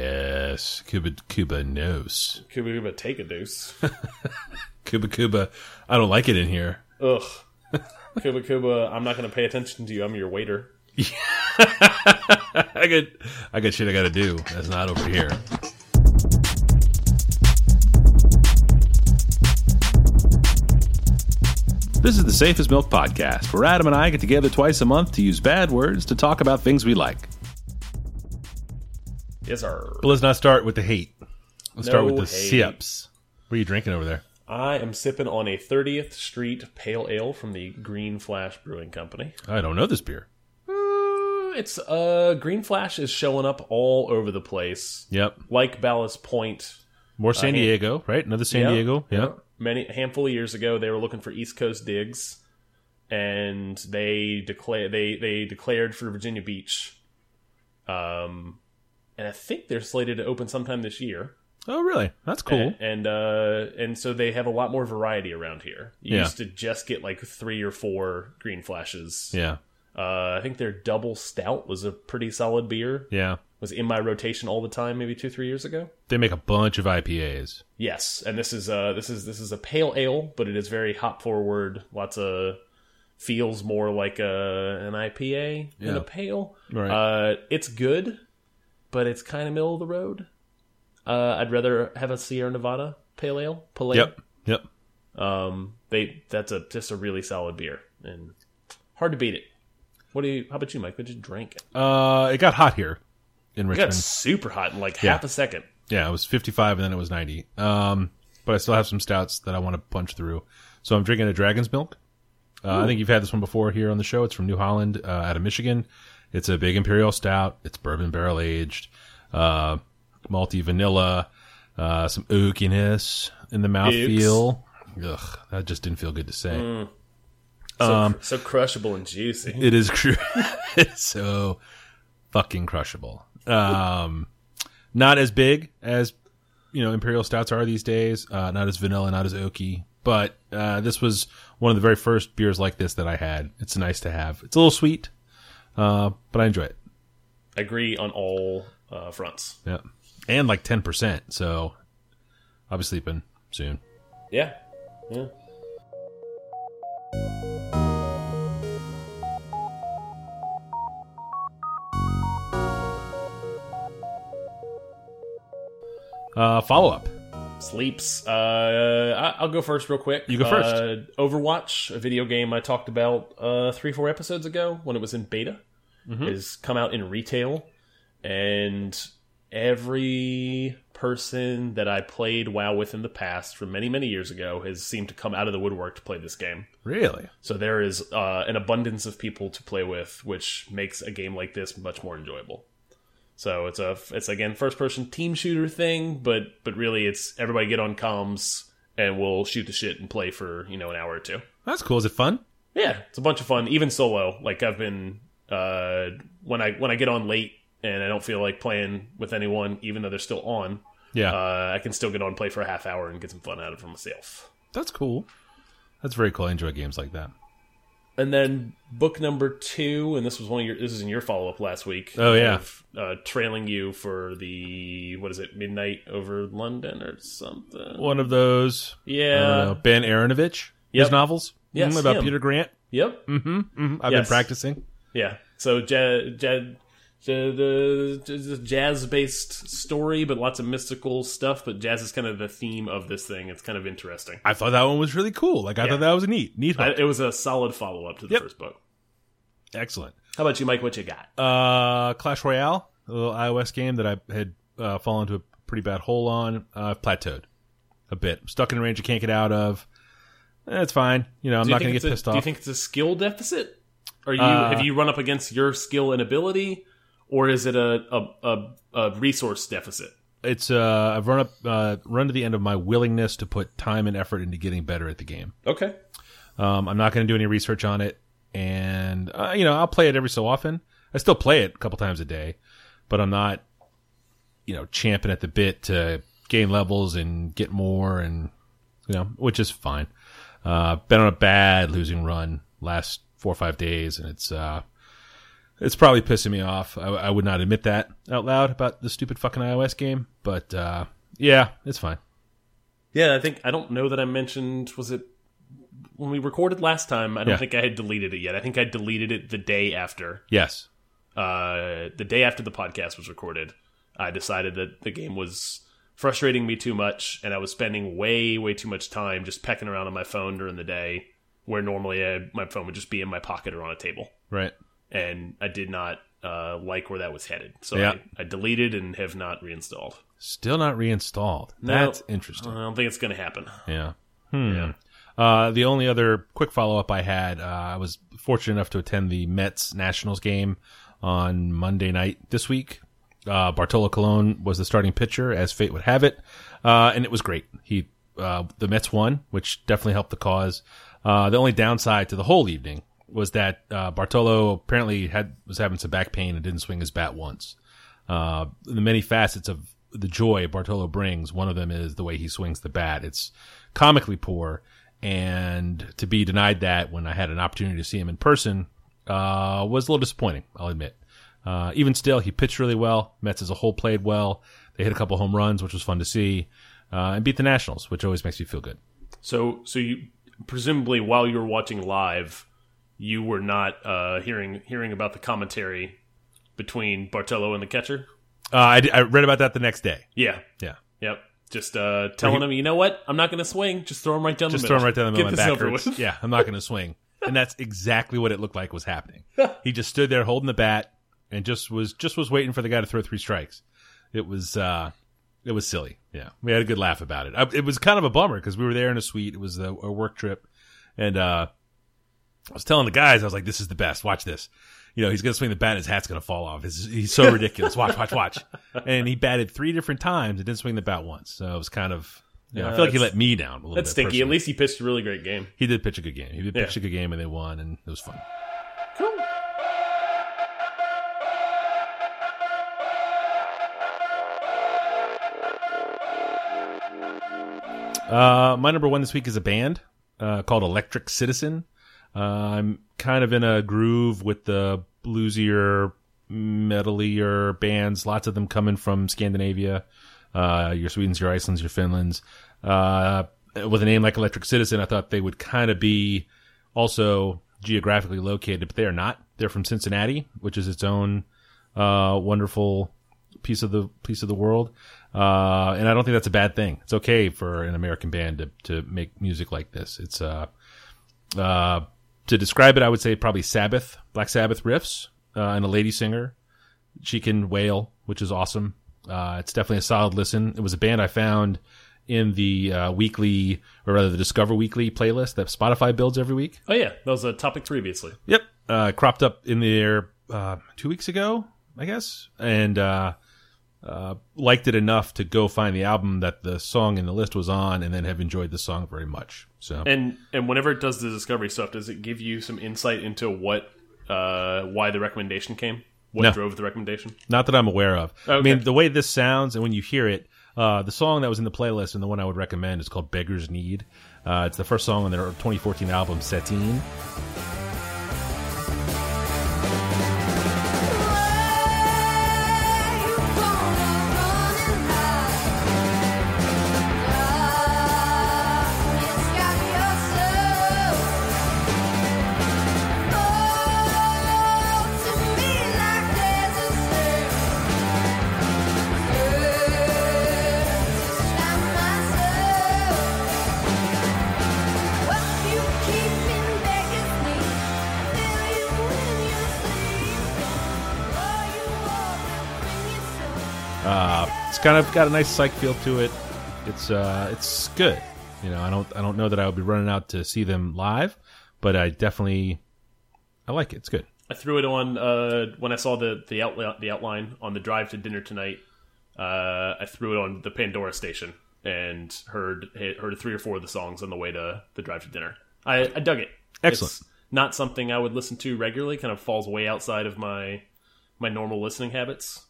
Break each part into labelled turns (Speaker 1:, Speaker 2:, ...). Speaker 1: Yes, Cuba Cuba knows.
Speaker 2: Cuba Cuba take a deuce.
Speaker 1: Cuba Cuba, I don't like it in here.
Speaker 2: Ugh. Cuba Cuba, I'm not going to pay attention to you. I'm your waiter.
Speaker 1: I got I got shit I gotta do. That's not over here. This is the Safest Milk Podcast, where Adam and I get together twice a month to use bad words to talk about things we like.
Speaker 2: Yes, sir.
Speaker 1: But let's not start with the hate. Let's start
Speaker 2: No
Speaker 1: with the
Speaker 2: hate.
Speaker 1: sips. What are you drinking over there?
Speaker 2: I am sipping on a 30th Street Pale Ale from the Green Flash Brewing Company.
Speaker 1: I don't know this beer.
Speaker 2: Mm, It's uh, Green Flash is showing up all over the place,
Speaker 1: Yep.
Speaker 2: like Ballast Point.
Speaker 1: More San Diego, right? Another San
Speaker 2: yeah.
Speaker 1: Diego. Yeah.
Speaker 2: Many a handful of years ago, they were looking for East Coast digs, and they declare they they declared for Virginia Beach. Um, and I think they're slated to open sometime this year.
Speaker 1: Oh, really? That's cool.
Speaker 2: and uh and so they have a lot more variety around here. You
Speaker 1: Yeah.
Speaker 2: used to just get like three or four green flashes.
Speaker 1: Yeah.
Speaker 2: Uh I think their double stout was a pretty solid beer.
Speaker 1: Yeah.
Speaker 2: Was in my rotation all the time maybe 2 3 years ago.
Speaker 1: They make a bunch of IPAs.
Speaker 2: Yes, and this is uh this is this is a pale ale, but it is very hop forward. Lots of feels more like a an IPA than
Speaker 1: Yeah.
Speaker 2: a pale.
Speaker 1: Right.
Speaker 2: Uh it's good, but it's kind of middle of the road. Uh I'd rather have a Sierra Nevada pale ale, pale ale.
Speaker 1: Yep. Yep.
Speaker 2: Um, they that's a just a really solid beer and hard to beat it. What do you? How about you, Mike? What did you drink? It
Speaker 1: Uh, it got hot here in
Speaker 2: got
Speaker 1: Richmond.
Speaker 2: super hot in like half a second.
Speaker 1: Yeah, it was 55 and then it was 90. Um, but I still have some stouts that I want to punch through. So I'm drinking a Dragon's Milk. Uh, I think you've had this one before here on the show. It's from New Holland, uh, out of Michigan. It's a big imperial stout. It's bourbon barrel aged, uh, malty vanilla, uh, some oakiness in the mouthfeel. Ugh, that just didn't feel good to say.
Speaker 2: So,
Speaker 1: Um,
Speaker 2: so crushable and juicy.
Speaker 1: It is cru- it's so fucking crushable. Um, not as big as you know imperial stouts are these days. Uh, not as vanilla, not as oaky. But uh, this was one of the very first beers like this that I had. It's nice to have. It's a little sweet, uh, but I enjoy it.
Speaker 2: I agree on all uh, fronts.
Speaker 1: Yeah, and like ten percent. So I'll be sleeping soon.
Speaker 2: Yeah, yeah.
Speaker 1: Uh, follow up.
Speaker 2: Sleeps. Uh, I, I'll go first real quick.
Speaker 1: You go first.
Speaker 2: Uh, Overwatch, a video game I talked about uh, three, four episodes ago when it was in beta,
Speaker 1: Mm-hmm.
Speaker 2: has come out in retail, and every person that I played WoW with in the past, from many, many years ago, has seemed to come out of the woodwork to play this game.
Speaker 1: Really?
Speaker 2: So there is uh, an abundance of people to play with, which makes a game like this much more enjoyable. So it's a it's again first person team shooter thing, but but really it's everybody get on comms and we'll shoot the shit and play for you know an hour or two.
Speaker 1: That's cool. Is it fun?
Speaker 2: Yeah, it's a bunch of fun, even solo. Like I've been uh, when I when I get on late and I don't feel like playing with anyone, even though they're still on,
Speaker 1: Yeah,
Speaker 2: uh, I can still get on play for a half hour and get some fun out of it for myself.
Speaker 1: that's cool. That's very cool. I enjoy games like that.
Speaker 2: And then book number two, and this was one of your. This is in your follow up last week.
Speaker 1: Oh, yeah.
Speaker 2: of, uh, trailing you for the what is it midnight over London or something?
Speaker 1: One of those.
Speaker 2: yeah.
Speaker 1: Uh, ben Aronovich,
Speaker 2: Yep.
Speaker 1: his novels,
Speaker 2: Yes,
Speaker 1: Mm, about
Speaker 2: him.
Speaker 1: Peter Grant.
Speaker 2: Yep.
Speaker 1: Mm, I've
Speaker 2: Yes.
Speaker 1: been practicing.
Speaker 2: Yeah. So jazz, jazz based story, but lots of mystical stuff. But jazz is kind of the theme of this thing. It's kind of interesting.
Speaker 1: I thought that one was really cool. Like I thought that was neat, neat,
Speaker 2: I,
Speaker 1: hook.
Speaker 2: it was a solid follow up to the
Speaker 1: Yep.
Speaker 2: first book.
Speaker 1: excellent.
Speaker 2: How about you, Mike? What you got?
Speaker 1: Uh, Clash Royale, a little iOS game that I had uh, fallen to a pretty bad hole on. Uh, I've plateaued a bit. I'm stuck in a range I can't get out of. That's fine. You know, I'm
Speaker 2: Do you
Speaker 1: not
Speaker 2: think
Speaker 1: going to
Speaker 2: it's
Speaker 1: get
Speaker 2: a-
Speaker 1: pissed
Speaker 2: Do you
Speaker 1: off.
Speaker 2: think it's a skill deficit? Are you
Speaker 1: Uh,
Speaker 2: have you run up against your skill and ability, or is it a a, a, a resource deficit?
Speaker 1: it's uh, I've run up, uh, run to the end of my willingness to put time and effort into getting better at the game.
Speaker 2: Okay.
Speaker 1: Um, I'm not going to do any research on it, and uh, you know I'll play it every so often. I still play it a couple times a day, but I'm not, you know, champing at the bit to gain levels and get more, and you know, which is fine. Uh, been on a bad losing run last four or five days, and it's uh, It's probably pissing me off. I, I would not admit that out loud about the stupid fucking iOS game, but uh, yeah, it's fine.
Speaker 2: Yeah, I think I don't know that I mentioned was it when we recorded last time. I don't
Speaker 1: Yeah.
Speaker 2: think I had deleted it yet. I think I deleted it the day after.
Speaker 1: Yes,
Speaker 2: Uh, the day after the podcast was recorded, I decided that the game was frustrating me too much, and I was spending way, way too much time just pecking around on my phone during the day, where normally I, my phone would just be in my pocket or on a table.
Speaker 1: right.
Speaker 2: And I did not uh, like where that was headed, so
Speaker 1: Yeah.
Speaker 2: I, I deleted and have not reinstalled.
Speaker 1: Still not reinstalled.
Speaker 2: No.
Speaker 1: That's
Speaker 2: I
Speaker 1: interesting.
Speaker 2: don't think it's going to happen.
Speaker 1: Yeah. Hmm. Uh, the only other quick follow up I had, uh, I was fortunate enough to attend the Mets Nationals game on Monday night this week. Uh, Bartolo Colon was the starting pitcher, as fate would have it, uh, and it was great. He uh, the Mets won, which definitely helped the cause. Uh, the only downside to the whole evening was that uh, Bartolo apparently had was having some back pain and didn't swing his bat once uh, the many facets of the joy Bartolo brings, one of them is the way he swings the bat. It's comically poor, and to be denied that when I had an opportunity to see him in person uh, was a little disappointing. I'll admit. Uh, even still, he pitched really well. Mets as a whole played well. They hit a couple home runs, which was fun to see, uh, and beat the Nationals, which always makes you feel good.
Speaker 2: So, so you presumably while you were watching live, you were not uh, hearing hearing about the commentary between Bartolo and the catcher.
Speaker 1: Uh, I, d- I read about that the next day.
Speaker 2: Yeah,
Speaker 1: Yeah,
Speaker 2: yep. Just uh, telling him, you know what? I'm not going to swing. Just throw him right down
Speaker 1: just
Speaker 2: the
Speaker 1: throw him
Speaker 2: middle.
Speaker 1: right down the middle.
Speaker 2: Get
Speaker 1: and
Speaker 2: this
Speaker 1: back
Speaker 2: over
Speaker 1: hurts.
Speaker 2: with.
Speaker 1: Yeah, I'm not going to swing. And that's exactly what it looked like was happening. he just stood there holding the bat and just was just was waiting for the guy to throw three strikes. It was uh, it was silly. Yeah, we had a good laugh about it. I, it was kind of a bummer because we were there in a suite. It was a, a work trip, and uh, I was telling the guys, I was like, "This is the best. Watch this." You know, he's gonna swing the bat, and his hat's gonna fall off. It's, he's so ridiculous. Watch, watch, watch. And he batted three different times and didn't swing the bat once. So it was kind of. You know, I feel like he
Speaker 2: that's-
Speaker 1: let me down a little bit.
Speaker 2: That's stinky. At
Speaker 1: personally.
Speaker 2: least he pitched a really great game.
Speaker 1: He did pitch a good game. He did
Speaker 2: Yeah.
Speaker 1: pitch a good game, and they won, and it was fun.
Speaker 2: Cool.
Speaker 1: Uh, my number one this week is a band uh, called Electric Citizen. Uh, I'm kind of in a groove with the bluesier, metalier bands. Lots of them coming from Scandinavia. Uh, your Swedens, your Icelands, your Finlands. Uh, with a name like Electric Citizen, I thought they would kind of be also geographically located, but they are not. They're from Cincinnati, which is its own uh, wonderful piece of the piece of the world. Uh, and I don't think that's a bad thing. It's okay for an American band to, to make music like this. It's uh, uh, to describe it, I would say probably Sabbath, Black Sabbath riffs, uh, and a lady singer. She can wail, which is awesome. Uh, it's definitely a solid listen. It was a band I found in the uh, weekly, or rather the Discover Weekly playlist that Spotify builds every week.
Speaker 2: Oh yeah, that was a topic previously.
Speaker 1: Yep. Uh, cropped up in the air uh, two weeks ago, I guess, and uh, uh, liked it enough to go find the album that the song in the list was on, and then have enjoyed the song very much. So
Speaker 2: And and whenever it does the discovery stuff, does it give you some insight into what uh, why the recommendation came? What
Speaker 1: No.
Speaker 2: drove the recommendation?
Speaker 1: Not that I'm aware of. I
Speaker 2: Okay.
Speaker 1: mean, the way this sounds and when you hear it, uh, the song that was in the playlist and the one I would recommend is called Beggar's Need. Uh, it's the first song on their 2014 album, Satine.
Speaker 3: Keeping back at me, feel you when you sleep. Are you all that bring yourself?
Speaker 1: Uh, it's kind of got a nice psych feel to it. It's uh, it's good. You know, I don't I don't know that I would be running out to see them live, but I definitely I like it. It's good.
Speaker 2: I threw it on uh, when I saw the the outline, the outline on the drive to dinner tonight. Uh, I threw it on the Pandora station and heard heard three or four of the songs on the way to the drive to dinner. I, I dug it.
Speaker 1: Excellent.
Speaker 2: It's not something I would listen to regularly. Kind of falls way outside of my my normal listening habits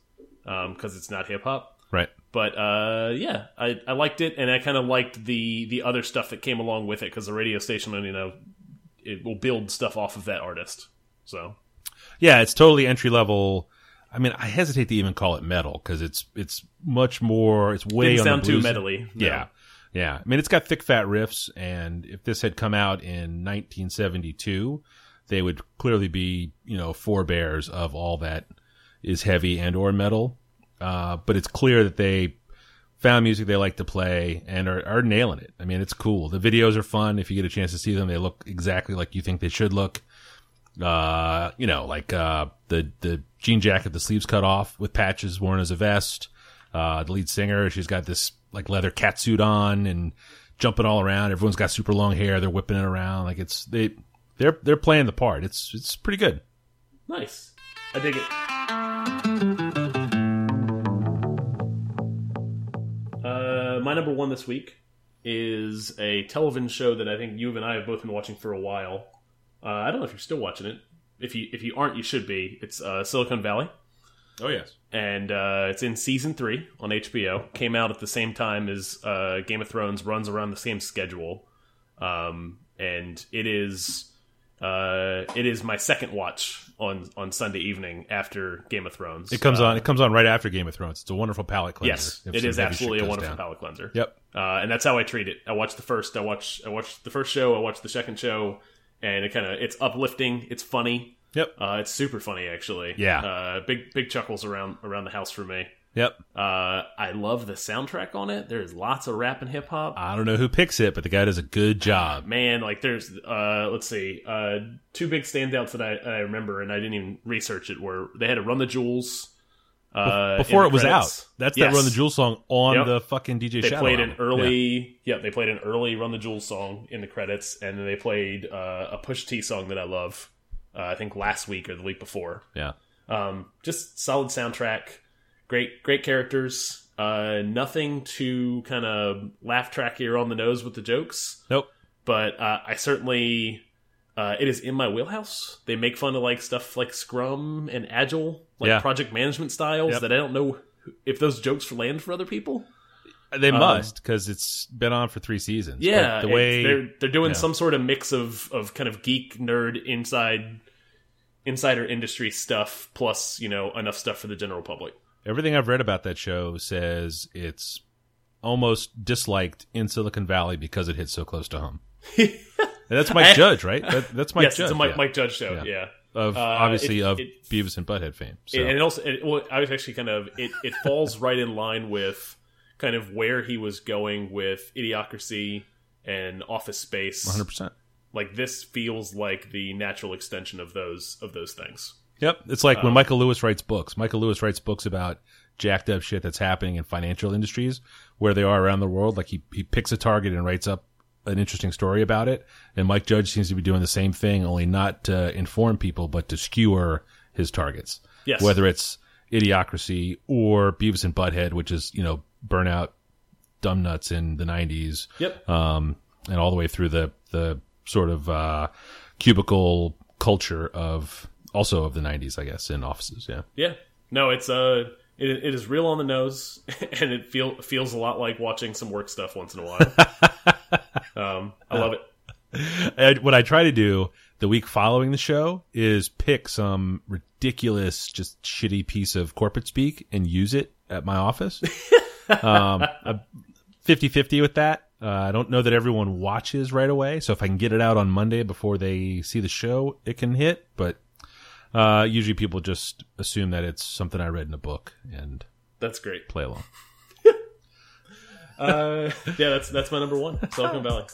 Speaker 2: because it's not hip hop.
Speaker 1: Right.
Speaker 2: But uh, yeah, I, I liked it, and I kind of liked the the other stuff that came along with it because the radio station, you know, it will build stuff off of that artist. So
Speaker 1: yeah, it's totally entry level. I mean, I hesitate to even call it metal because it's it's much more. It's way
Speaker 2: Didn't
Speaker 1: on
Speaker 2: sound
Speaker 1: the
Speaker 2: too
Speaker 1: bluesy-
Speaker 2: metally. no.
Speaker 1: Yeah. Yeah. I mean, it's got thick, fat riffs, and if this had come out in 1972, they would clearly be, you know, forebears of all that is heavy and or metal. Uh, but it's clear that they found music they like to play and are, are nailing it. I mean, it's cool. The videos are fun. If you get a chance to see them, they look exactly like you think they should look. Uh, you know, like uh, the the jean jacket, the sleeves cut off with patches worn as a vest. Uh, the lead singer, she's got this like leather catsuit on and jumping all around. Everyone's got super long hair. They're whipping it around like it's they they're they're playing the part. It's it's pretty good.
Speaker 2: Nice. I dig it. Uh, my number one this week is a television show that I think you and I have both been watching for a while. Uh, I don't know if you're still watching it. If you if you aren't, you should be. It's uh, Silicon Valley,
Speaker 1: Oh yes.
Speaker 2: and uh, it's in season three on HBO. Came out at the same time as uh, Game of Thrones. Runs around the same schedule, um, and it is uh, it is my second watch on on Sunday evening after Game of Thrones.
Speaker 1: It comes
Speaker 2: Uh,
Speaker 1: on. It comes on right after Game of Thrones. It's a wonderful palate cleanser.
Speaker 2: Yes,
Speaker 1: if
Speaker 2: it
Speaker 1: some
Speaker 2: is
Speaker 1: heavy
Speaker 2: absolutely
Speaker 1: shit
Speaker 2: a
Speaker 1: goes
Speaker 2: wonderful
Speaker 1: down.
Speaker 2: palate cleanser.
Speaker 1: Yep.
Speaker 2: Uh, and that's how I treat it. I watch the first, I watch, I watch the first show, I watch the second show, and it kind of it's uplifting, it's funny,
Speaker 1: Yep.
Speaker 2: uh, it's super funny actually.
Speaker 1: Yeah.
Speaker 2: uh, big big chuckles around around the house for me.
Speaker 1: Yep.
Speaker 2: Uh, I love the soundtrack on it. There's lots of rap and hip hop.
Speaker 1: I don't know who picks it, but the guy does a
Speaker 2: Ah,
Speaker 1: good job.
Speaker 2: Man, like there's uh, let's see, uh, two big standouts that I, I remember, and I didn't even research it. Were they had to run the jewels uh,
Speaker 1: Before
Speaker 2: in
Speaker 1: it
Speaker 2: the
Speaker 1: was
Speaker 2: credits.
Speaker 1: out, that's
Speaker 2: Yes.
Speaker 1: that Run the Jewel song on
Speaker 2: Yep.
Speaker 1: the fucking DJ.
Speaker 2: they
Speaker 1: Shadow
Speaker 2: played
Speaker 1: album.
Speaker 2: an early yeah. they played an early run the jewels song in the credits and then they played uh, a push t song that i love uh, i think last week or the week before
Speaker 1: Yeah.
Speaker 2: um, just solid soundtrack great great characters uh, nothing too kind of laugh tracky or on the nose with the jokes
Speaker 1: Nope.
Speaker 2: but uh, i certainly uh, it is in my wheelhouse they make fun of like stuff like scrum and agile like
Speaker 1: Yeah.
Speaker 2: project management styles
Speaker 1: Yep.
Speaker 2: that i don't know if those jokes land for other people
Speaker 1: They must because it's been on for three seasons.
Speaker 2: Um, yeah,
Speaker 1: But the
Speaker 2: it's-
Speaker 1: way
Speaker 2: they're they're doing
Speaker 1: yeah.
Speaker 2: some sort of mix of of kind of geek nerd inside insider industry stuff plus you know enough stuff for the general public.
Speaker 1: Everything I've read about that show says it's almost disliked in Silicon Valley because it hits so close to home. And that's Mike Judge, right? That, that's Mike
Speaker 2: yes,
Speaker 1: Judge.
Speaker 2: it's a Mike,
Speaker 1: yeah.
Speaker 2: Mike Judge show.
Speaker 1: Yeah.
Speaker 2: Yeah,
Speaker 1: of
Speaker 2: uh,
Speaker 1: obviously
Speaker 2: it-
Speaker 1: of
Speaker 2: it-
Speaker 1: Beavis and Butthead fame. So.
Speaker 2: And, and also, it, well, I was actually kind of it it falls right in line with kind of where he was going with Idiocracy and Office Space.
Speaker 1: 100%.
Speaker 2: Like this feels like the natural extension of those of those things.
Speaker 1: Yep. It's like
Speaker 2: Um,
Speaker 1: when Michael Lewis writes books. Michael Lewis writes books about jacked up shit that's happening in financial industries where they are around the world. Like he, he picks a target and writes up an interesting story about it. And Mike Judge seems to be doing the same thing, only not to inform people, but to skewer his targets.
Speaker 2: Yes.
Speaker 1: Whether it's Idiocracy or Beavis and Butthead, which is, you know, burnout dumb nuts in the 90s.
Speaker 2: Yep.
Speaker 1: um, and all the way through the the sort of uh, cubicle culture of also of the '90s, I guess, in offices. Yeah,
Speaker 2: Yeah. No, it's uh it, it is real on the nose and it feel feels a lot like watching some work stuff once in a while. um I love it.
Speaker 1: and what I try to do the week following the show is pick some ridiculous, just shitty piece of corporate speak and use it at my office. um, I'm 50-50 with that. Uh, I don't know that everyone watches right away, so if I can get it out on Monday before they see the show, it can hit. But uh, usually, people just assume that it's something I read in a book and
Speaker 2: That's great.
Speaker 1: play along.
Speaker 2: Uh yeah, that's that's my number 1. Silicon Valley.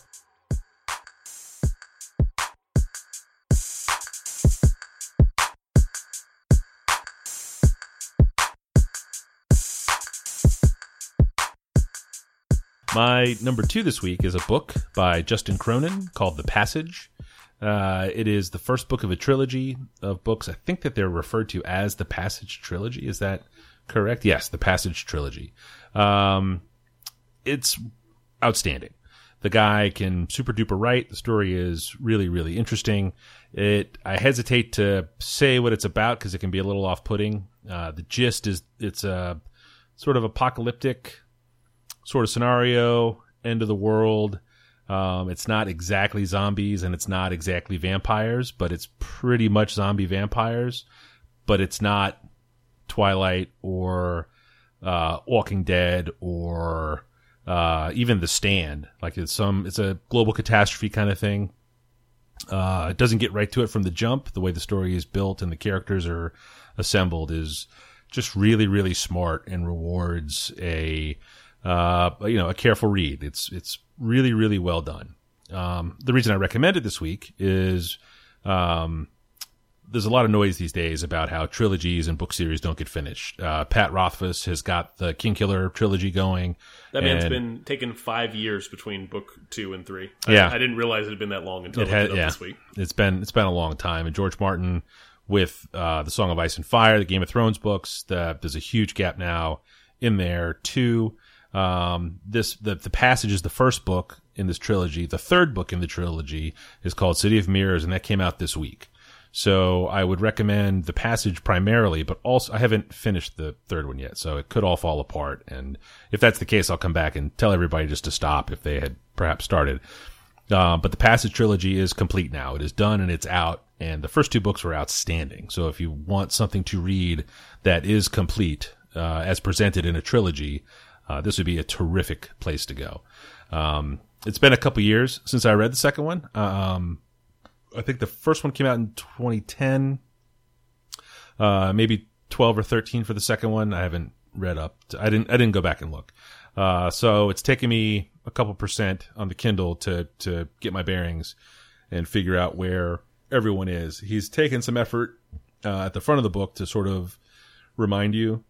Speaker 1: My number two this week is a book by Justin Cronin called The Passage. Uh, it is the first book of a trilogy of books. I think that they're referred to as the Passage Trilogy. Is that correct? Yes, the Passage Trilogy. Um, it's outstanding. The guy can super duper write. The story is really, really interesting. It, I hesitate to say what it's about because it can be a little off putting. Uh, the gist is it's a sort of apocalyptic sort of scenario, end of the world. Um, it's not exactly zombies and it's not exactly vampires, but it's pretty much zombie vampires. But it's not Twilight or uh, Walking Dead or uh, even The Stand. Like it's some, it's a global catastrophe kind of thing. Uh, it doesn't get right to it from the jump. The way the story is built and the characters are assembled is just really, really smart and rewards a uh, you know a careful read. It's it's really, really well done. Um, the reason I recommend it this week is um, there's a lot of noise these days about how trilogies and book series don't get finished. Uh, Pat Rothfuss has got the King Killer trilogy going.
Speaker 2: That man's
Speaker 1: and-
Speaker 2: been taking five years between book two and three.
Speaker 1: Yeah.
Speaker 2: I, I didn't realize it had been that long until
Speaker 1: It
Speaker 2: it
Speaker 1: had-
Speaker 2: up
Speaker 1: yeah.
Speaker 2: this week.
Speaker 1: it's been it's been a long time. And George Martin with uh, the Song of Ice and Fire, the Game of Thrones books, the, there's a huge gap now in there too. Um, this the the passage is the first book in this trilogy. The third book in the trilogy is called City of Mirrors, and that came out this week. So I would recommend the passage primarily, but also I haven't finished the third one yet, so it could all fall apart. And if that's the case, I'll come back and tell everybody just to stop if they had perhaps started. Uh, but the Passage trilogy is complete now. It is done and it's out. And the first two books were outstanding. So if you want something to read that is complete, uh, as presented in a trilogy, uh, this would be a terrific place to go. Um, it's been a couple years since I read the second one. Um, I think the first one came out in 2010, uh, maybe 12 or 13 for the second one. I haven't read up. To, I didn't. I didn't go back and look. Uh, so it's taken me a couple percent on the Kindle to to get my bearings and figure out where everyone is. He's taken some effort uh, at the front of the book to sort of remind you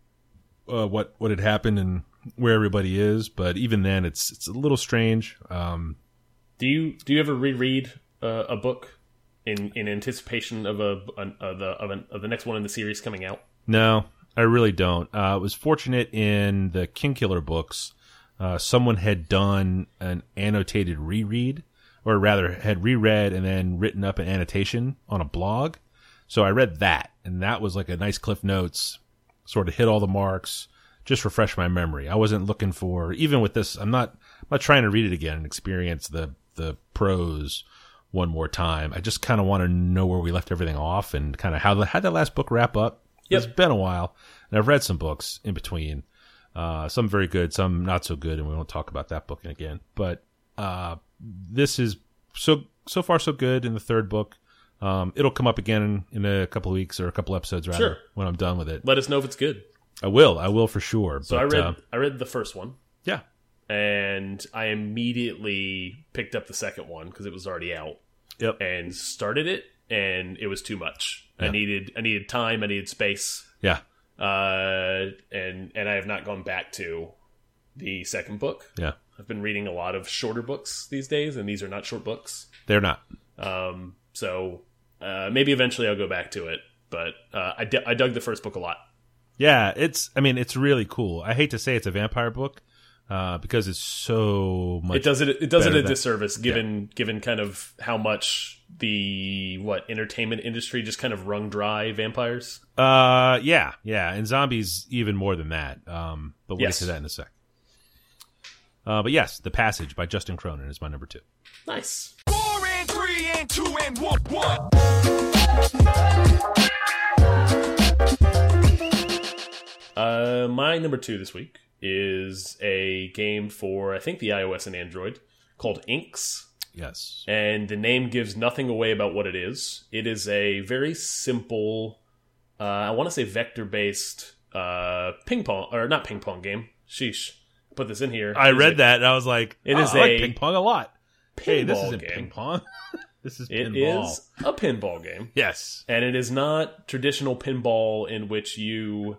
Speaker 1: uh, what what had happened and where everybody is. But even then, it's it's a little strange. Um,
Speaker 2: Do you do you ever reread uh, a book in in anticipation of a an, of the of, an, of the next one in the series coming out?
Speaker 1: No, I really don't. Uh, I was fortunate in the King Killer books. Uh, someone had done an annotated reread, or rather, had reread and then written up an annotation on a blog. So I read that, and that was like a nice Cliff Notes, sort of hit all the marks, just refresh my memory. I wasn't looking for even with this. I'm not. I'm not trying to read it again and experience the the prose one more time. I just kind of want to know where we left everything off and kind of how the how that last book wrap up. It's been a while, and I've read some books in between. Uh, some very good, some not so good, and we won't talk about that book again. But uh, this is so so far so good in the third book. Um, it'll come up again in, in a couple of weeks or a couple episodes, rather,
Speaker 2: Sure.
Speaker 1: when I'm done with it.
Speaker 2: Let us know if it's good.
Speaker 1: I will, I will for sure.
Speaker 2: So I
Speaker 1: but,
Speaker 2: read
Speaker 1: uh,
Speaker 2: I read the first one
Speaker 1: yeah,
Speaker 2: and I immediately picked up the second one because it was already out.
Speaker 1: Yep.
Speaker 2: And started it and it was too much. I
Speaker 1: Yeah.
Speaker 2: needed I needed time. I needed space.
Speaker 1: yeah,
Speaker 2: Uh, and and I have not gone back to the second book.
Speaker 1: yeah.
Speaker 2: I've been reading a lot of shorter books these days, and these are not short books.
Speaker 1: They're not.
Speaker 2: Um, so uh, maybe eventually I'll go back to it. But uh, I, d I dug the first book a lot.
Speaker 1: Yeah, it's. I mean, it's really cool. I hate to say it's a vampire book uh, because it's so much.
Speaker 2: It does it. It does
Speaker 1: better
Speaker 2: it a
Speaker 1: than-
Speaker 2: disservice, given given kind of how much the what entertainment industry just kind of wrung dry vampires.
Speaker 1: Uh, yeah, yeah, and zombies even more than that. Um, but we'll
Speaker 2: Yes.
Speaker 1: get to that in a sec. Uh, but yes, the passage by Justin Cronin is my number two.
Speaker 2: Nice.
Speaker 4: Four and three and two and one one.
Speaker 2: Uh, my number two this week is a game for I think the iOS and Android called Inks.
Speaker 1: Yes,
Speaker 2: and the name gives nothing away about what it is. It is a very simple, uh, I want to say vector based uh, ping pong, or not ping pong game. Sheesh. Put this in here.
Speaker 1: I
Speaker 2: It is
Speaker 1: read
Speaker 2: a
Speaker 1: that and I was like,
Speaker 2: It
Speaker 1: "Oh,
Speaker 2: is
Speaker 1: I like
Speaker 2: a
Speaker 1: ping pong a lot. Hey, this
Speaker 2: pinball
Speaker 1: isn't
Speaker 2: game.
Speaker 1: ping pong. this is
Speaker 2: It
Speaker 1: pinball.
Speaker 2: is a pinball game.
Speaker 1: Yes,
Speaker 2: And it is not traditional pinball in which you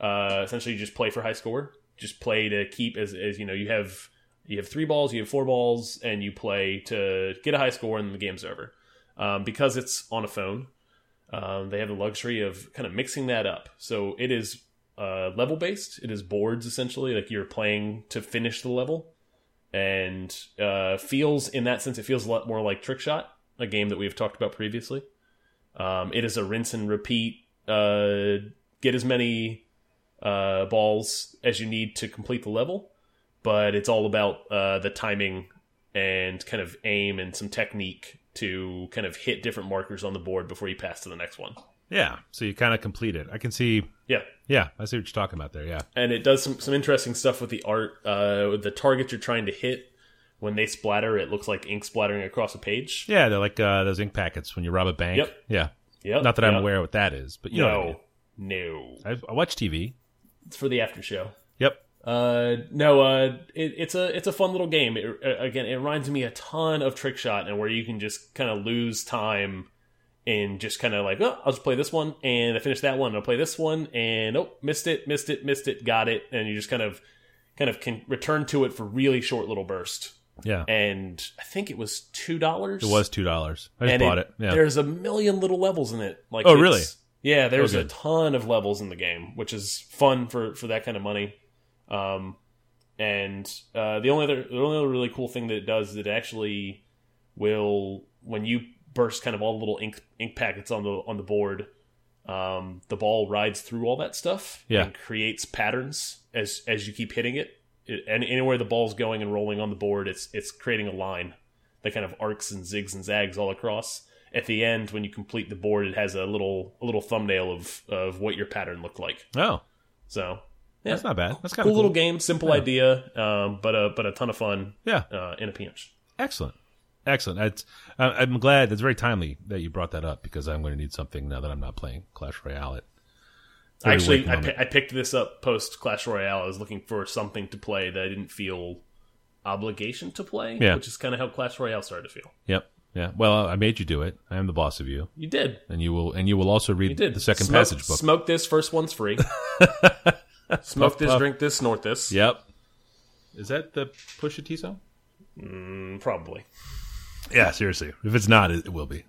Speaker 2: uh, essentially just play for high score. Just play to keep as, as you know, you have you have three balls, you have four balls, and you play to get a high score and the game's over. Um, because it's on a phone, um, they have the luxury of kind of mixing that up. So it is uh, level based. It is boards essentially, like you're playing to finish the level, and uh, feels in that sense it feels a lot more like Trick Shot, a game that we've talked about previously. Um, it is a rinse and repeat. Uh, get as many uh, balls as you need to complete the level, but it's all about uh, the timing and kind of aim and some technique to kind of hit different markers on the board before you pass to the next one.
Speaker 1: Yeah. So you kind of complete it. I can see.
Speaker 2: Yeah.
Speaker 1: Yeah, I see what you're talking about there. Yeah.
Speaker 2: and it does some, some interesting stuff with the art. Uh, with the target you're trying to hit, when they splatter, it looks like ink splattering across a page.
Speaker 1: Yeah, they're like uh, those ink packets when you rob a bank.
Speaker 2: Yep.
Speaker 1: Yeah.
Speaker 2: Yep,
Speaker 1: Not that I'm
Speaker 2: yep.
Speaker 1: aware of what that is, but you know. what I mean.
Speaker 2: No, no,
Speaker 1: I, I watch TV.
Speaker 2: it's for the after show.
Speaker 1: Yep.
Speaker 2: Uh, no, uh, it, it's a it's a fun little game. It, uh, again, it reminds me a ton of Trick Shot, and where you can just kind of lose time and just kind of like, oh, I'll just play this one, and I finish that one, and I'll play this one, and oh, missed it, missed it, missed it, got it, and you just kind of kind of can return to it for really short little bursts.
Speaker 1: Yeah.
Speaker 2: and I think it was two dollars.
Speaker 1: it was two dollars. I just
Speaker 2: and
Speaker 1: bought it. Yeah.
Speaker 2: There's a million little levels in it. Like,
Speaker 1: Oh,
Speaker 2: it's-
Speaker 1: really?
Speaker 2: Yeah, there's
Speaker 1: Oh,
Speaker 2: a
Speaker 1: good.
Speaker 2: ton of levels in the game, which is fun for for that kind of money. Um, and uh, the only other the only other really cool thing that it does is it actually will when you burst kind of all the little ink ink packets on the on the board. Um, the ball rides through all that stuff
Speaker 1: Yeah.
Speaker 2: and creates patterns as as you keep hitting it. it and anywhere the ball's going and rolling on the board, it's it's creating a line that kind of arcs and zigs and zags all across. At the end, when you complete the board, it has a little a little thumbnail of of what your pattern looked like.
Speaker 1: Oh,
Speaker 2: So yeah,
Speaker 1: that's not bad. That's kind
Speaker 2: cool
Speaker 1: of
Speaker 2: little game, simple idea, um, but a but a ton of fun
Speaker 1: Yeah.
Speaker 2: uh, in a pinch.
Speaker 1: Excellent. Excellent. That's, I- I'm glad. It's very timely that you brought that up because I'm going to need something now that I'm not playing Clash Royale. At
Speaker 2: I
Speaker 1: wait
Speaker 2: Actually,
Speaker 1: a
Speaker 2: I,
Speaker 1: moment.
Speaker 2: pi- I picked this up post Clash Royale. I was looking for something to play that I didn't feel obligation to play,
Speaker 1: Yeah.
Speaker 2: which is kind of how Clash Royale started to feel.
Speaker 1: Yep. Yeah. Well, I made you do it. I am the boss of you,
Speaker 2: You did,
Speaker 1: and you will, and you will also read
Speaker 2: you did.
Speaker 1: the second
Speaker 2: Smoke-
Speaker 1: passage book.
Speaker 2: Smoke this, first one's free. Smoke this,
Speaker 1: puff.
Speaker 2: drink this, snort this.
Speaker 1: Yep. Is that the Pusha T song?
Speaker 2: Probably.
Speaker 1: Yeah. Seriously, if it's not, it, it will be.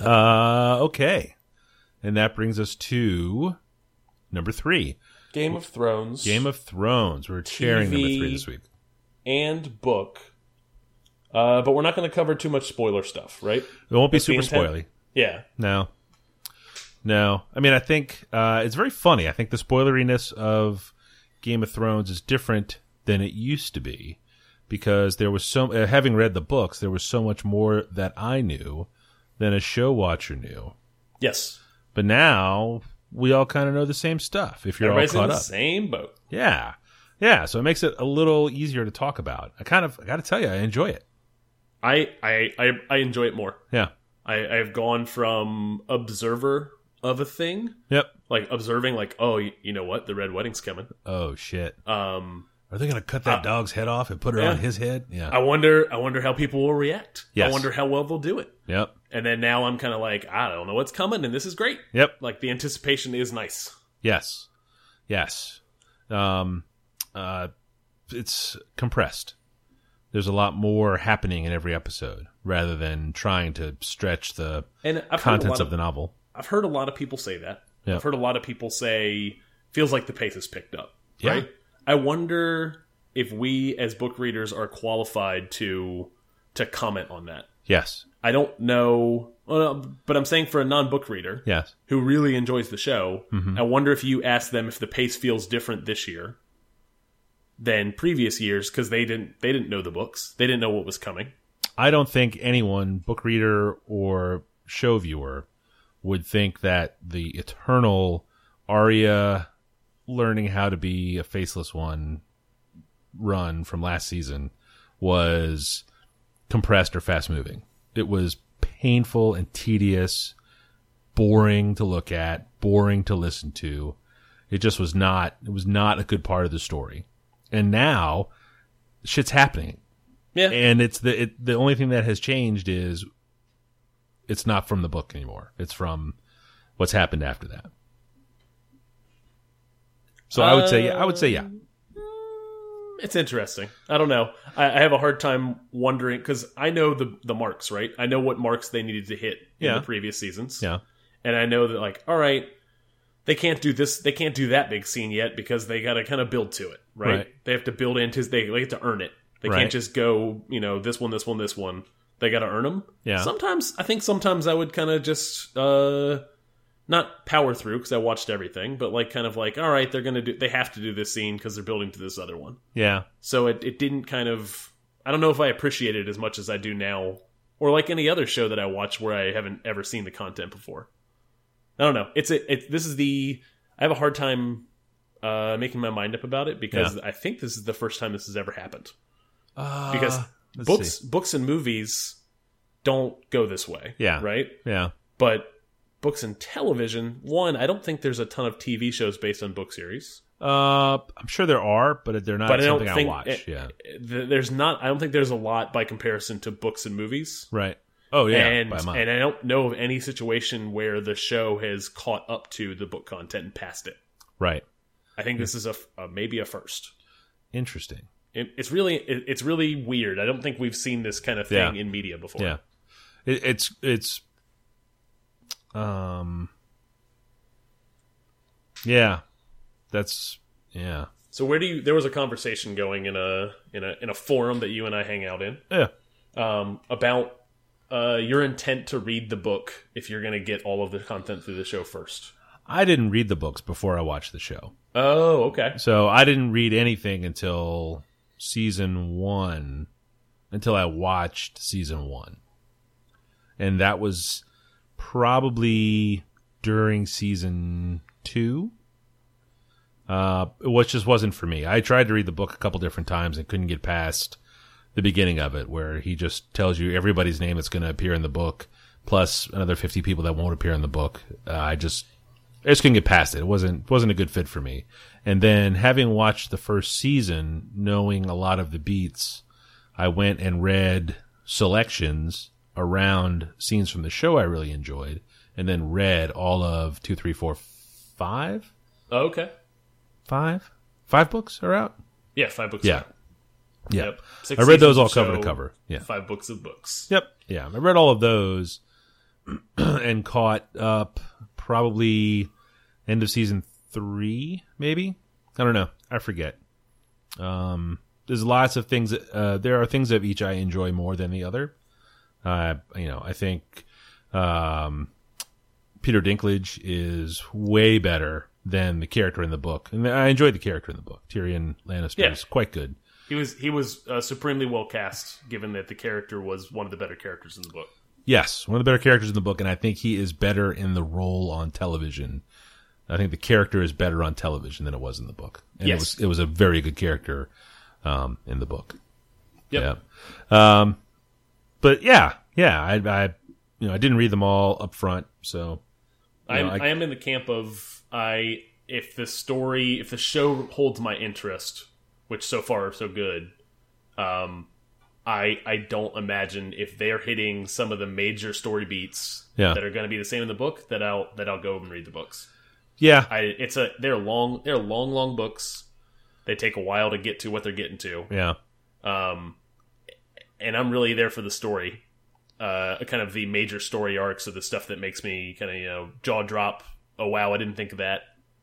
Speaker 1: Uh, okay. And that brings us to number three
Speaker 2: Game of Thrones.
Speaker 1: Game of Thrones. We're sharing number
Speaker 2: TV.
Speaker 1: three this week.
Speaker 2: and book. Uh, but we're not going to cover too much spoiler stuff, right?
Speaker 1: It won't be
Speaker 2: the
Speaker 1: super
Speaker 2: intent?
Speaker 1: spoily.
Speaker 2: Yeah.
Speaker 1: No. No. I mean, I think uh, it's very funny. I think the spoileriness of Game of Thrones is different than it used to be because there was so, uh, having read the books, there was so much more that I knew than a show watcher knew.
Speaker 2: Yes.
Speaker 1: But now we all kind of know the same stuff if you're
Speaker 2: Everybody's
Speaker 1: all
Speaker 2: in
Speaker 1: caught
Speaker 2: the
Speaker 1: up.
Speaker 2: same boat.
Speaker 1: Yeah. Yeah. So it makes it a little easier to talk about. I kind of, I got to tell you, I enjoy it.
Speaker 2: I, I, I, I enjoy it more.
Speaker 1: Yeah.
Speaker 2: I, I've gone from observer of a thing,
Speaker 1: Yep.
Speaker 2: like observing, like, oh, you, you know what? The Red Wedding's coming.
Speaker 1: Oh, shit.
Speaker 2: Um,
Speaker 1: Are they going to cut that dog's head off and put her
Speaker 2: yeah.
Speaker 1: on his head? Yeah.
Speaker 2: I wonder, I wonder how people will react.
Speaker 1: Yes.
Speaker 2: I wonder how well they'll do it.
Speaker 1: yep.
Speaker 2: And then now I'm kind of like, I don't know what's coming, and this is great.
Speaker 1: Yep.
Speaker 2: Like the anticipation is nice.
Speaker 1: Yes. Yes. Um, uh, it's compressed. There's a lot more happening in every episode rather than trying to stretch the
Speaker 2: And I've heard a
Speaker 1: contents
Speaker 2: lot
Speaker 1: of the novel.
Speaker 2: I've heard a lot of people say that.
Speaker 1: Yeah.
Speaker 2: I've heard a lot of people say feels like the pace has picked up.
Speaker 1: Yeah.
Speaker 2: Right? I wonder if we as book readers are qualified to to comment on that.
Speaker 1: Yes.
Speaker 2: I don't know, well, but I'm saying for a non-book reader
Speaker 1: Yes.
Speaker 2: who really enjoys the show,
Speaker 1: Mm-hmm.
Speaker 2: I wonder if you ask them if the pace feels different this year than previous years because they didn't they didn't know the books, they didn't know what was coming.
Speaker 1: I don't think anyone, book reader or show viewer, would think that the eternal Arya learning how to be a faceless one run from last season was compressed or fast moving. It was painful and tedious, boring to look at, boring to listen to. It just was not it was not a good part of the story. And now shit's happening
Speaker 2: Yeah,
Speaker 1: and it's the it, the only thing that has changed is it's not from the book anymore. It's from what's happened after that. So I would say yeah. I would say yeah.
Speaker 2: It's interesting. I don't know. I, I have a hard time wondering because I know the the marks, right? I know what marks they needed to hit in
Speaker 1: Yeah.
Speaker 2: the previous seasons,
Speaker 1: Yeah.
Speaker 2: and I know that like, all right, they can't do this, they can't do that big scene yet because they got to kind of build to it, right?
Speaker 1: Right.
Speaker 2: They have to build into they, they have to earn it. They
Speaker 1: Right.
Speaker 2: can't just go, you know, this one, this one, this one. They got to earn them.
Speaker 1: Yeah.
Speaker 2: Sometimes I think sometimes I would kind of just uh not power through because I watched everything, but like kind of like, all right, they're gonna do, they have to do this scene because they're building to this other one.
Speaker 1: Yeah.
Speaker 2: So it, it didn't kind of I don't know if I appreciate it as much as I do now, or like any other show that I watch where I haven't ever seen the content before. I don't know. It's a it, this is the I have a hard time uh, making my mind up about it because I think this is the first time this has ever happened.
Speaker 1: Uh,
Speaker 2: Because
Speaker 1: let's
Speaker 2: books
Speaker 1: see.
Speaker 2: books and movies don't go this way.
Speaker 1: Yeah.
Speaker 2: Right?
Speaker 1: Yeah.
Speaker 2: But books and television, one, I don't think there's a ton of TV shows based on book series.
Speaker 1: Uh, I'm sure there are, but they're not
Speaker 2: But I don't
Speaker 1: something I,
Speaker 2: think-
Speaker 1: watch.
Speaker 2: it-
Speaker 1: yeah.
Speaker 2: Th- There's not I don't think there's a lot by comparison to books and movies.
Speaker 1: Right. Oh yeah.
Speaker 2: and
Speaker 1: by a mile.
Speaker 2: and I don't know of any situation where the show has caught up to the book content and passed it.
Speaker 1: right.
Speaker 2: I think
Speaker 1: Hmm.
Speaker 2: this is a, f- a- maybe a first.
Speaker 1: Interesting.
Speaker 2: It, it's really it, it's really weird. I don't think we've seen this kind of thing
Speaker 1: Yeah.
Speaker 2: in media before.
Speaker 1: Yeah. It, it's it's. Um. Yeah, that's yeah
Speaker 2: So where do you? There was a conversation going in a in a in a forum that you and I hang out in
Speaker 1: yeah
Speaker 2: um, about uh, your intent to read the book if you're going to get all of the content through the show first.
Speaker 1: I didn't read the books before I watched the show.
Speaker 2: Oh, okay.
Speaker 1: So I didn't read anything until season one, until I watched season one. And that was probably during season two. Uh, which just wasn't for me. I tried to read the book a couple different times and couldn't get past the beginning of it, where he just tells you everybody's name that's going to appear in the book, plus another fifty people that won't appear in the book. Uh, I just I just couldn't get past it. It wasn't wasn't a good fit for me. And then having watched the first season, knowing a lot of the beats, I went and read selections around scenes from the show I really enjoyed, and then read all of two, three, four, five,
Speaker 2: Oh, okay.
Speaker 1: five, five books are out.
Speaker 2: Yeah, five books.
Speaker 1: Yeah, yeah.
Speaker 2: Yep. Six
Speaker 1: I read those
Speaker 2: seasons,
Speaker 1: all cover to
Speaker 2: so
Speaker 1: cover. Yeah.
Speaker 2: Five books of books.
Speaker 1: Yep. Yeah, I read all of those and caught up probably end of season three, maybe. I don't know. I forget. Um, there's lots of things. Uh, there are things of each I enjoy more than the other. Uh, you know, I think um, Peter Dinklage is way better than the character in the book, and I enjoyed the character in the book. Tyrion Lannister
Speaker 2: Yeah.
Speaker 1: is quite good.
Speaker 2: He was he was uh, supremely well cast, given that the character was one of the better characters in the book.
Speaker 1: Yes, one of the better characters in the book, and I think he is better in the role on television. I think the character is better on television than it was in the book. And it
Speaker 2: Yes.
Speaker 1: was it was a very good character um, in the book.
Speaker 2: Yep.
Speaker 1: Yeah. Um, but yeah, yeah, I, I you know I didn't read them all up front, so
Speaker 2: I'm,
Speaker 1: know, I-
Speaker 2: I, am in the camp of I if the story if the show holds my interest, which so far are so good, um, I I don't imagine if they're hitting some of the major story beats
Speaker 1: Yeah.
Speaker 2: that are going to be the same in the book that I'll that I'll go and read the books.
Speaker 1: yeah,
Speaker 2: I it's a they're long they're long long books. They take a while to get to what they're getting to.
Speaker 1: yeah,
Speaker 2: um, and I'm really there for the story, uh, kind of the major story arcs of the stuff that makes me kind of you know jaw drop. Oh wow, I didn't think of that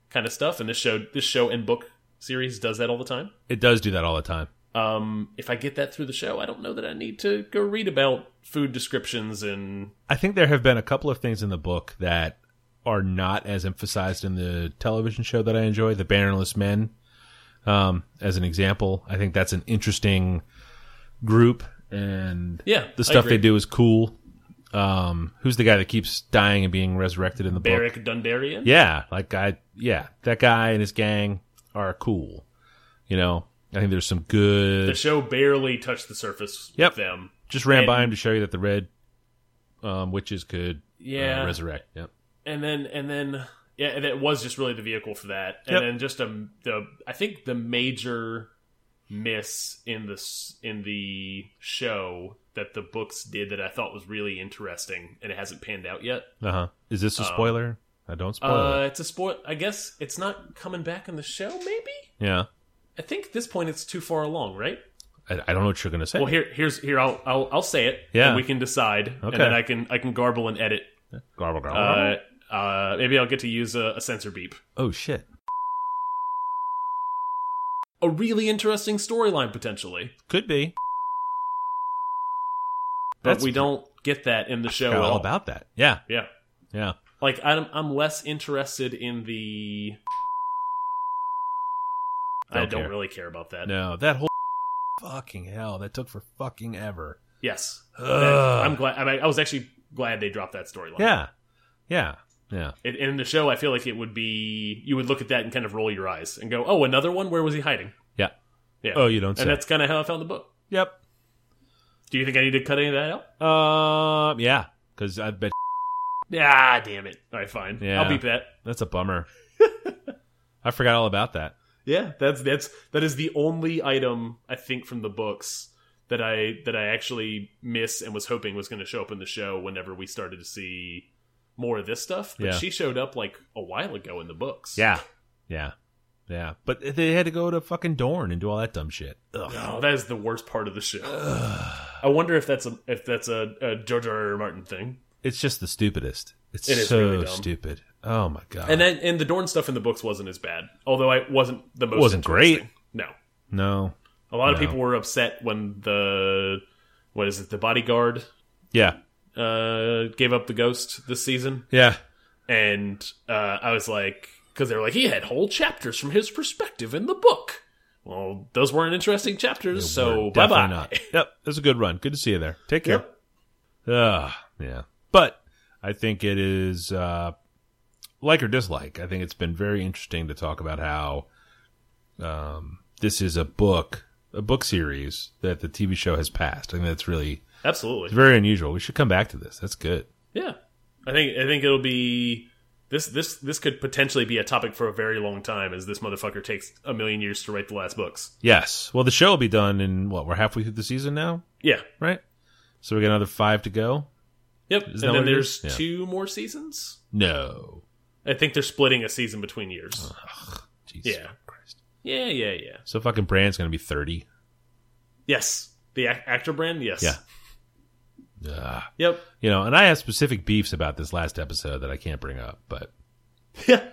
Speaker 2: kind of stuff. And this show, this show and book series does that all the time.
Speaker 1: it does do that all the time.
Speaker 2: Um, if I get that through the show, I don't know that I need to go read about food descriptions and
Speaker 1: I think there have been a couple of things in the book that are not as emphasized in the television show that I enjoy, The Bannerless Men, um, as an example. I think that's an interesting group, and
Speaker 2: Yeah, I
Speaker 1: the stuff
Speaker 2: agree.
Speaker 1: they do is cool. Um, who's the guy that keeps dying and being resurrected in the book?
Speaker 2: Barrick Dundarian.
Speaker 1: Yeah, like I, yeah, that guy and his gang are cool. You know, I think there's some good.
Speaker 2: The show barely touched the surface
Speaker 1: Yep. Uh,
Speaker 2: with them.
Speaker 1: Just ran by
Speaker 2: and-
Speaker 1: him to show you that the red um, witches could
Speaker 2: Yeah.
Speaker 1: uh, resurrect. Yep.
Speaker 2: and then and then yeah, and it was just really the vehicle for that. And
Speaker 1: Yep.
Speaker 2: then just a the I think the major miss in this in the show that the books did that I thought was really interesting and it hasn't panned out yet.
Speaker 1: Uh huh. Is this a spoiler? I don't spoil. it.
Speaker 2: Um, Uh, it's a spoil. I guess it's not coming back in the show. Maybe
Speaker 1: Yeah.
Speaker 2: I think at this point it's too far along, right?
Speaker 1: I, I don't know what you're gonna say.
Speaker 2: Well, here here's here I'll I'll, I'll say it.
Speaker 1: Yeah.
Speaker 2: and we can decide,
Speaker 1: Okay.
Speaker 2: and then I can I can garble and edit.
Speaker 1: garble garble.
Speaker 2: Uh, uh, maybe I'll get to use a, a sensor beep.
Speaker 1: oh shit.
Speaker 2: a really interesting storyline potentially.
Speaker 1: Could be.
Speaker 2: But
Speaker 1: That's-
Speaker 2: we don't get that in the show
Speaker 1: Forgot
Speaker 2: at
Speaker 1: all
Speaker 2: all.
Speaker 1: about that. Yeah.
Speaker 2: Yeah.
Speaker 1: Yeah.
Speaker 2: Like I'm I'm less interested in the. I
Speaker 1: Don't
Speaker 2: don't,
Speaker 1: care.
Speaker 2: really care about that.
Speaker 1: No, that whole fucking hell that took for fucking ever.
Speaker 2: Yes,
Speaker 1: Ugh.
Speaker 2: I'm glad. I, mean, I was actually glad they dropped that storyline.
Speaker 1: Yeah, yeah, yeah.
Speaker 2: In- in the show, I feel like it would be you would look at that and kind of roll your eyes and go, "Oh, another one. Where was he hiding?"
Speaker 1: Yeah.
Speaker 2: Yeah.
Speaker 1: Oh, you don't
Speaker 2: And
Speaker 1: say.
Speaker 2: that's kind of how I felt in the book.
Speaker 1: Yep.
Speaker 2: Do you think I need to cut any of that out?
Speaker 1: Um. yeah. Because I bet
Speaker 2: Ah, damn it. All right, fine.
Speaker 1: Yeah.
Speaker 2: I'll beep that.
Speaker 1: that's a bummer. I forgot all about that.
Speaker 2: Yeah, that's that's that is the only item I think from the books that I that I actually miss and was hoping was going to show up in the show whenever we started to see more of this stuff. But
Speaker 1: Yeah.
Speaker 2: she showed up like a while ago in the books.
Speaker 1: Yeah. Yeah. Yeah. But they had to go to fucking Dorn and do all that dumb shit. Ugh.
Speaker 2: Oh, that is the worst part of the show. I wonder if that's a if that's a, a George R. R. Martin thing.
Speaker 1: It's just the stupidest. It's
Speaker 2: It is
Speaker 1: so
Speaker 2: really dumb.
Speaker 1: stupid. Oh my god.
Speaker 2: And then and the Dorn stuff in the books wasn't as bad, although I wasn't the most
Speaker 1: Wasn't great.
Speaker 2: interesting. No,
Speaker 1: no.
Speaker 2: a lot of
Speaker 1: No.
Speaker 2: people were upset when the what is it the bodyguard
Speaker 1: Yeah.
Speaker 2: uh, gave up the ghost this season,
Speaker 1: Yeah.
Speaker 2: and uh, I was like, because they were like, he had whole chapters from his perspective in the book. Well, those weren't interesting chapters, so
Speaker 1: We're
Speaker 2: bye
Speaker 1: definitely
Speaker 2: bye.
Speaker 1: Not. Yep. That's a good run. Good to see you there. Take care.
Speaker 2: Yep.
Speaker 1: Ugh. Yeah. But I think it is uh like or dislike. I think it's been very interesting to talk about how um this is a book a book series that the TV show has passed. I think that's really
Speaker 2: Absolutely,
Speaker 1: It's very unusual. We should come back to this. That's good.
Speaker 2: yeah. I think I think it'll be this this this could potentially be a topic for a very long time, as this motherfucker takes a million years to write the last books.
Speaker 1: Yes. Well, the show will be done in what? We're halfway through the season now,
Speaker 2: Yeah.
Speaker 1: right? So we got another five to go.
Speaker 2: Yep.
Speaker 1: that
Speaker 2: and then
Speaker 1: what it is?
Speaker 2: there's
Speaker 1: Yeah.
Speaker 2: two more seasons.
Speaker 1: No.
Speaker 2: I think they're splitting a season between years.
Speaker 1: Jesus
Speaker 2: Yeah.
Speaker 1: Christ.
Speaker 2: Yeah, yeah, yeah.
Speaker 1: So fucking Brand's gonna be thirty.
Speaker 2: Yes. The ac actor brand, yes.
Speaker 1: Yeah. Ugh.
Speaker 2: Yep.
Speaker 1: You know, and I have specific beefs about this last episode that I can't bring up, but
Speaker 2: Yeah.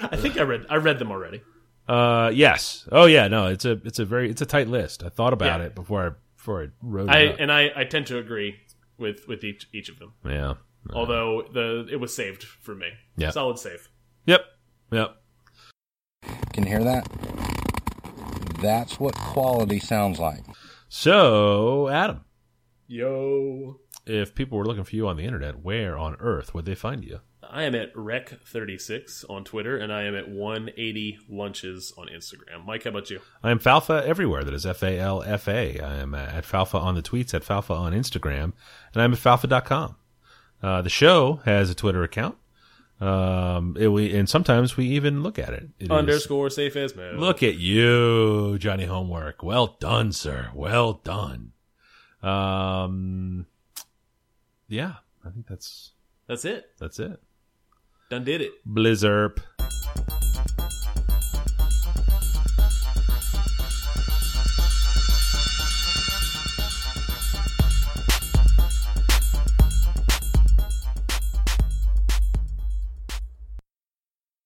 Speaker 2: I think I read I read them already.
Speaker 1: uh, yes. Oh yeah, no, it's a it's a very it's a tight list. I thought about
Speaker 2: Yeah.
Speaker 1: it before I before I wrote
Speaker 2: I
Speaker 1: it.
Speaker 2: and I, I tend to agree with with each each of them.
Speaker 1: up. Yeah.
Speaker 2: Although the it was saved for me.
Speaker 1: Yeah.
Speaker 2: Solid save.
Speaker 1: Yep. Yep.
Speaker 5: Can you hear that? That's what quality sounds like.
Speaker 1: So Adam,
Speaker 2: Yo.
Speaker 1: if people were looking for you on the internet, where on earth would they find you?
Speaker 2: I am at Rec36 on Twitter and I am at 180 Lunches on Instagram. Mike, how about you?
Speaker 1: I am Falfa everywhere. That is F A L F A. I am uh, at Falfa on the tweets, at Falfa on Instagram, and I'm at Falfa.com. Uh, the show has a Twitter account. Um, it, we, and sometimes we even look at it. It is-
Speaker 2: Underscore safe as man.
Speaker 1: Look at you, Johnny Homework. Well done, sir. Well done. Um, yeah, I think that's
Speaker 2: That's it.
Speaker 1: that's it.
Speaker 2: Done did it.
Speaker 1: Blizzard.